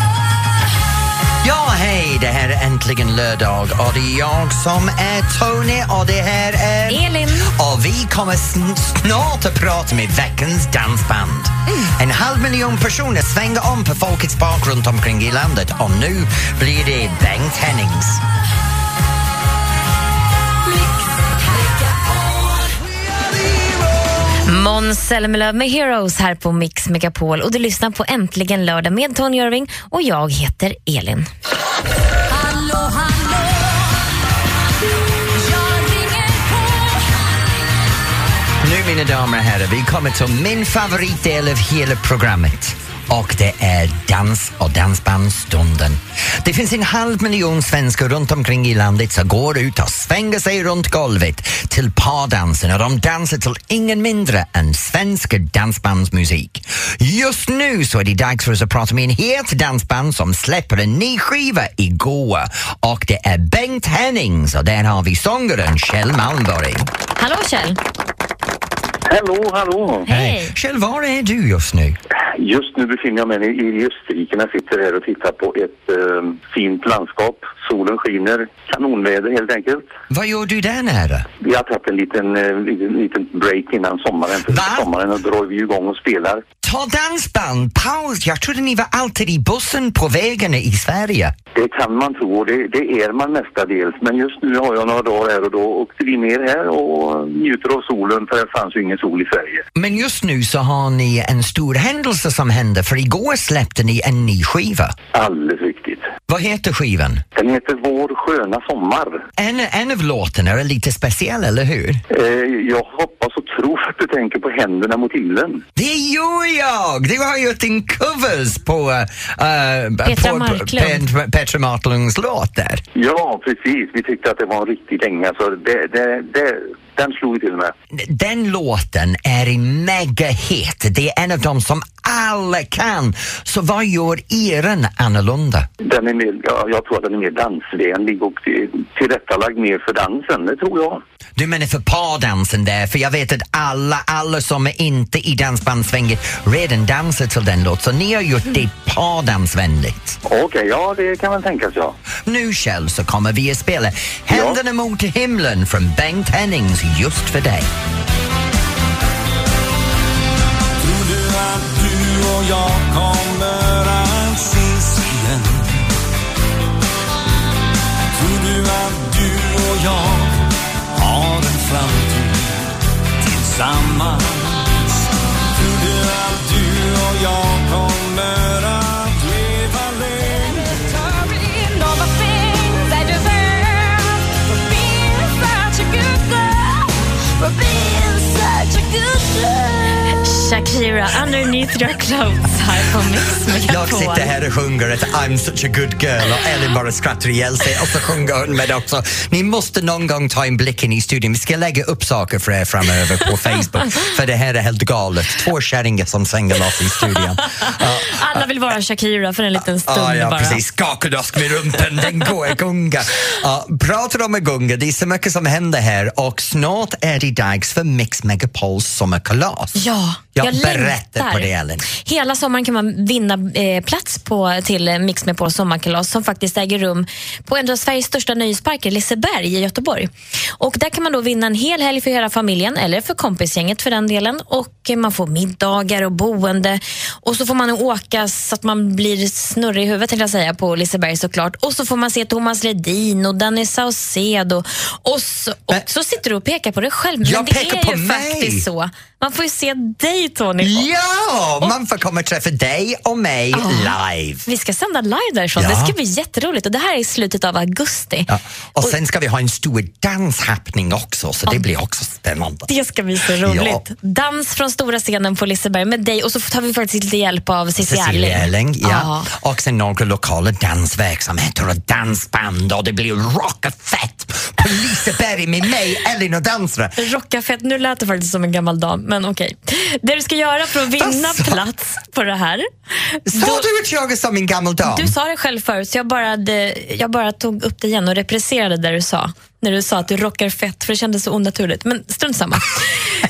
[SPEAKER 2] Ja, hej! Det här är äntligen lördag och det är jag som är Tony och det här är...
[SPEAKER 3] Elin.
[SPEAKER 2] Och vi kommer sn- snart att prata med veckans dansband.
[SPEAKER 1] Mm.
[SPEAKER 2] En halv miljon personer svänger om på folkets park runt omkring i landet och nu blir det Bengt Hennings.
[SPEAKER 3] Måns Zelmerlöw med Heroes här på Mix Megapol och du lyssnar på Äntligen lördag med Tony Irving och jag heter Elin.
[SPEAKER 2] Nu, mina damer och herrar, vi kommer till min favoritdel av hela programmet. Och det är dans och dansbandsstunden. Det finns en halv miljon svenskar runt omkring i landet som går ut och svänger sig runt golvet till pardansen och de dansar till ingen mindre än svensk dansbandsmusik. Just nu så är det dags för oss att prata med en het dansband som släpper en ny skiva igår och det är Bengt Hennings och där har vi sångaren Kjell Malmborg.
[SPEAKER 3] Hallå Kjell!
[SPEAKER 14] Hallå, hallå!
[SPEAKER 2] Hej! Kjell, var är du just nu?
[SPEAKER 14] Just nu befinner jag mig i Österrike när jag sitter här och tittar på ett eh, fint landskap. Solen skiner, kanonväder helt enkelt.
[SPEAKER 2] Vad gör du där nära?
[SPEAKER 14] Vi har tagit en liten, eh, liten, liten break innan sommaren. För sommaren och drar vi igång och spelar.
[SPEAKER 2] Ta dansband, paus. Jag trodde ni var alltid i bussen på vägarna i Sverige.
[SPEAKER 14] Det kan man tro och det, det är man mestadels. Men just nu har jag några dagar här och då åkte vi ner här och njuter av solen för det fanns ju ingen sol i Sverige.
[SPEAKER 2] Men just nu så har ni en stor händelse som hände för igår släppte ni en ny skiva.
[SPEAKER 14] Alldeles riktigt.
[SPEAKER 2] Vad heter skivan?
[SPEAKER 14] Den heter Vår sköna sommar.
[SPEAKER 2] En, en av låtarna är lite speciell, eller hur?
[SPEAKER 14] Eh, jag hoppas och tror att du tänker på Händerna mot illen.
[SPEAKER 2] Det gör jag! Du har gjort en covers på, eh,
[SPEAKER 14] Petra
[SPEAKER 2] på
[SPEAKER 14] Marklund.
[SPEAKER 2] Pet- Petra Marklunds låt där.
[SPEAKER 14] Ja, precis. Vi tyckte att det var en riktig dänga, så det, det, det, den slog vi till med.
[SPEAKER 2] Den låten är en megahit. Det är en av dem som alla kan. Så vad gör eran annorlunda?
[SPEAKER 14] Den är mer, ja, jag tror att den är mer dansvänlig och till- tillrättalagd mer för dansen, det tror jag.
[SPEAKER 2] Du menar för pardansen där, för jag vet att alla, alla som är inte i dansbandssvänget redan dansar till den låten, så ni har gjort det pardansvänligt.
[SPEAKER 14] Okej, ja det kan man tänka sig. Ja.
[SPEAKER 2] Nu själv så kommer vi att spela Händerna mot himlen från Bengt Hennings just för dig.
[SPEAKER 15] Trodde att du och jag kommer att ses igen Trodde att du och jag har en framtid tillsammans Trodde att du och jag kommer att leva länge
[SPEAKER 3] Shakira, underneath your clothes här på Mix Megapol.
[SPEAKER 2] Jag sitter här och sjunger ett I'm such a good girl och Elin bara skrattar ihjäl sig och så sjunger hon med också. Ni måste någon gång ta en blick in i studion. Vi ska lägga upp saker för er framöver på Facebook för det här är helt galet. Två kärringar som svänger loss i studion.
[SPEAKER 3] Alla vill vara Shakira för en liten stund
[SPEAKER 2] Ah, Ja, ja
[SPEAKER 3] bara.
[SPEAKER 2] precis. Skakedask med rumpen, den går gunga. Ja, pratar om gunga, det är så mycket som händer här och snart är det dags för Mix Megapols sommarkalas.
[SPEAKER 3] Ja,
[SPEAKER 2] jag,
[SPEAKER 3] jag
[SPEAKER 2] berättar
[SPEAKER 3] längtar.
[SPEAKER 2] på det, Ellen.
[SPEAKER 3] Hela sommaren kan man vinna eh, plats på, till eh, Mix Megapols sommarkalas som faktiskt äger rum på en av Sveriges största nöjesparker, Liseberg i Göteborg. Och där kan man då vinna en hel helg för hela familjen eller för kompisgänget för den delen. Och eh, Man får middagar och boende och så får man åka så att man blir snurrig i huvudet tänkte jag säga, på Liseberg såklart. Och så får man se Thomas Ledin och Danny Saucedo och så, och så sitter du och pekar på dig själv. Men
[SPEAKER 2] Jag
[SPEAKER 3] det
[SPEAKER 2] pekar
[SPEAKER 3] är
[SPEAKER 2] på
[SPEAKER 3] ju
[SPEAKER 2] mig.
[SPEAKER 3] faktiskt så. Man får ju se dig Tony.
[SPEAKER 2] Ja, man får komma och träffa dig och mig
[SPEAKER 3] Ja.
[SPEAKER 2] live.
[SPEAKER 3] Vi ska sända live därifrån.
[SPEAKER 2] Ja.
[SPEAKER 3] Det ska bli jätteroligt. Och det här är i slutet av augusti.
[SPEAKER 2] Ja. Och sen ska vi ha en stor danshappening också, så det blir också spännande.
[SPEAKER 3] Det ska bli så roligt. Dans från stora scenen på Liseberg med dig och så tar vi faktiskt lite hjälp av Cissi
[SPEAKER 2] Cecilia
[SPEAKER 3] Erling.
[SPEAKER 2] Erling, ja. Och sen några lokala dansverksamheter och dansband och det blir rockafett på Liseberg med mig, Elin och dansare.
[SPEAKER 3] Rocka fett. Nu lät det faktiskt som en gammal dam, men okej. Det du ska göra för att vinna plats på det här.
[SPEAKER 2] Sa du att jag är som en gammal dam?
[SPEAKER 3] Du sa det själv förut, så jag bara, hade- jag bara tog upp det igen och represserade det du sa. När du sa att du rockar fett, för det kändes så onaturligt. Men strunt samma.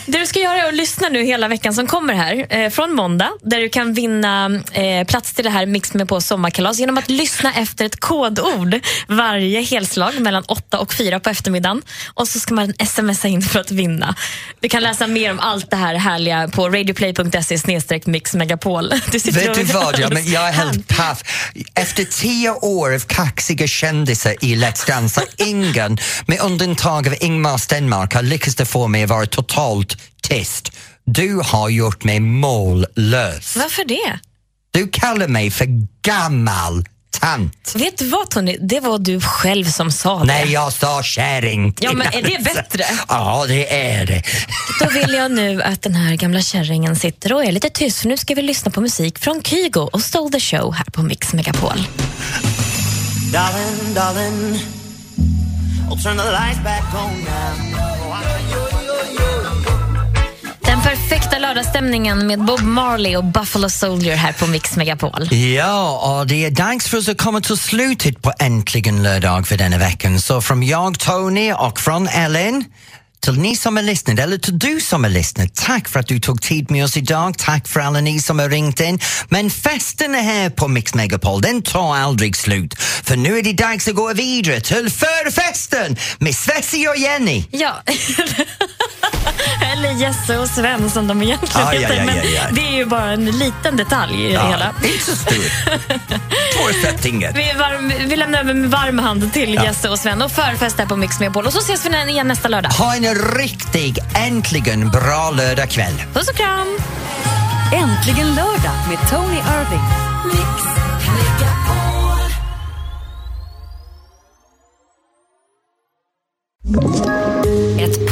[SPEAKER 3] det du ska göra är att lyssna nu hela veckan som kommer här, eh, från måndag, där du kan vinna eh, plats till det här Mix med på sommarkalas genom att lyssna efter ett kodord varje helslag mellan 8 och 4 på eftermiddagen. Och så ska man smsa in för att vinna. Du kan läsa mer om allt det här härliga på radioplay.se mixmegapol. Du sitter
[SPEAKER 2] Vet
[SPEAKER 3] och-
[SPEAKER 2] du vad, jag, men jag är helt paff. Efter tio år av kaxiga kändisar i Let's Dance har ingen, med undantag av Ingmar Stenmark, har lyckats det få mig att vara totalt tyst. Du har gjort mig mållös.
[SPEAKER 3] Varför det?
[SPEAKER 2] Du kallar mig för gammal tant.
[SPEAKER 3] Vet du vad Tony, det var du själv som sa det.
[SPEAKER 2] Nej, jag sa kärring.
[SPEAKER 3] Ja, men är det bättre?
[SPEAKER 2] Ja, det är det.
[SPEAKER 3] Då vill jag nu att den här gamla kärringen sitter och är lite tyst för nu ska vi lyssna på musik från Kygo och Stole the Show här på Mix Megapol.
[SPEAKER 16] Darling, darling, I'll turn the lights back on now.
[SPEAKER 3] Den perfekta lördagsstämningen med Bob Marley och Buffalo Soldier här på Mix Megapol.
[SPEAKER 2] Ja, och det är dags för oss att komma till slutet på Äntligen lördag för denna veckan. Så från jag, Tony, och från Ellen till ni som har lyssnat, eller till du som har lyssnat, tack för att du tog tid med oss idag. Tack för alla ni som har ringt in. Men festen är här på Mix Megapol, den tar aldrig slut. För nu är det dags att gå vidare till förfesten med Svessi och Jenny.
[SPEAKER 3] Ja, eller Jesse och Sven som de egentligen
[SPEAKER 2] Aj,
[SPEAKER 3] heter.
[SPEAKER 2] aj, aj,
[SPEAKER 3] men
[SPEAKER 2] aj, aj.
[SPEAKER 3] det är ju bara en liten detalj i det hela.
[SPEAKER 2] Inte så stor. Två sättningar.
[SPEAKER 3] Vi, är varm, vi lämnar över med varm hand till
[SPEAKER 2] Ja.
[SPEAKER 3] Jesse och Sven och förfest här på Mix Megapol. Och så ses vi igen nästa lördag.
[SPEAKER 2] Ha en riktig, äntligen bra lördagkväll.
[SPEAKER 3] Puss och kram!
[SPEAKER 1] Äntligen lördag med Tony Irving.
[SPEAKER 17] Ett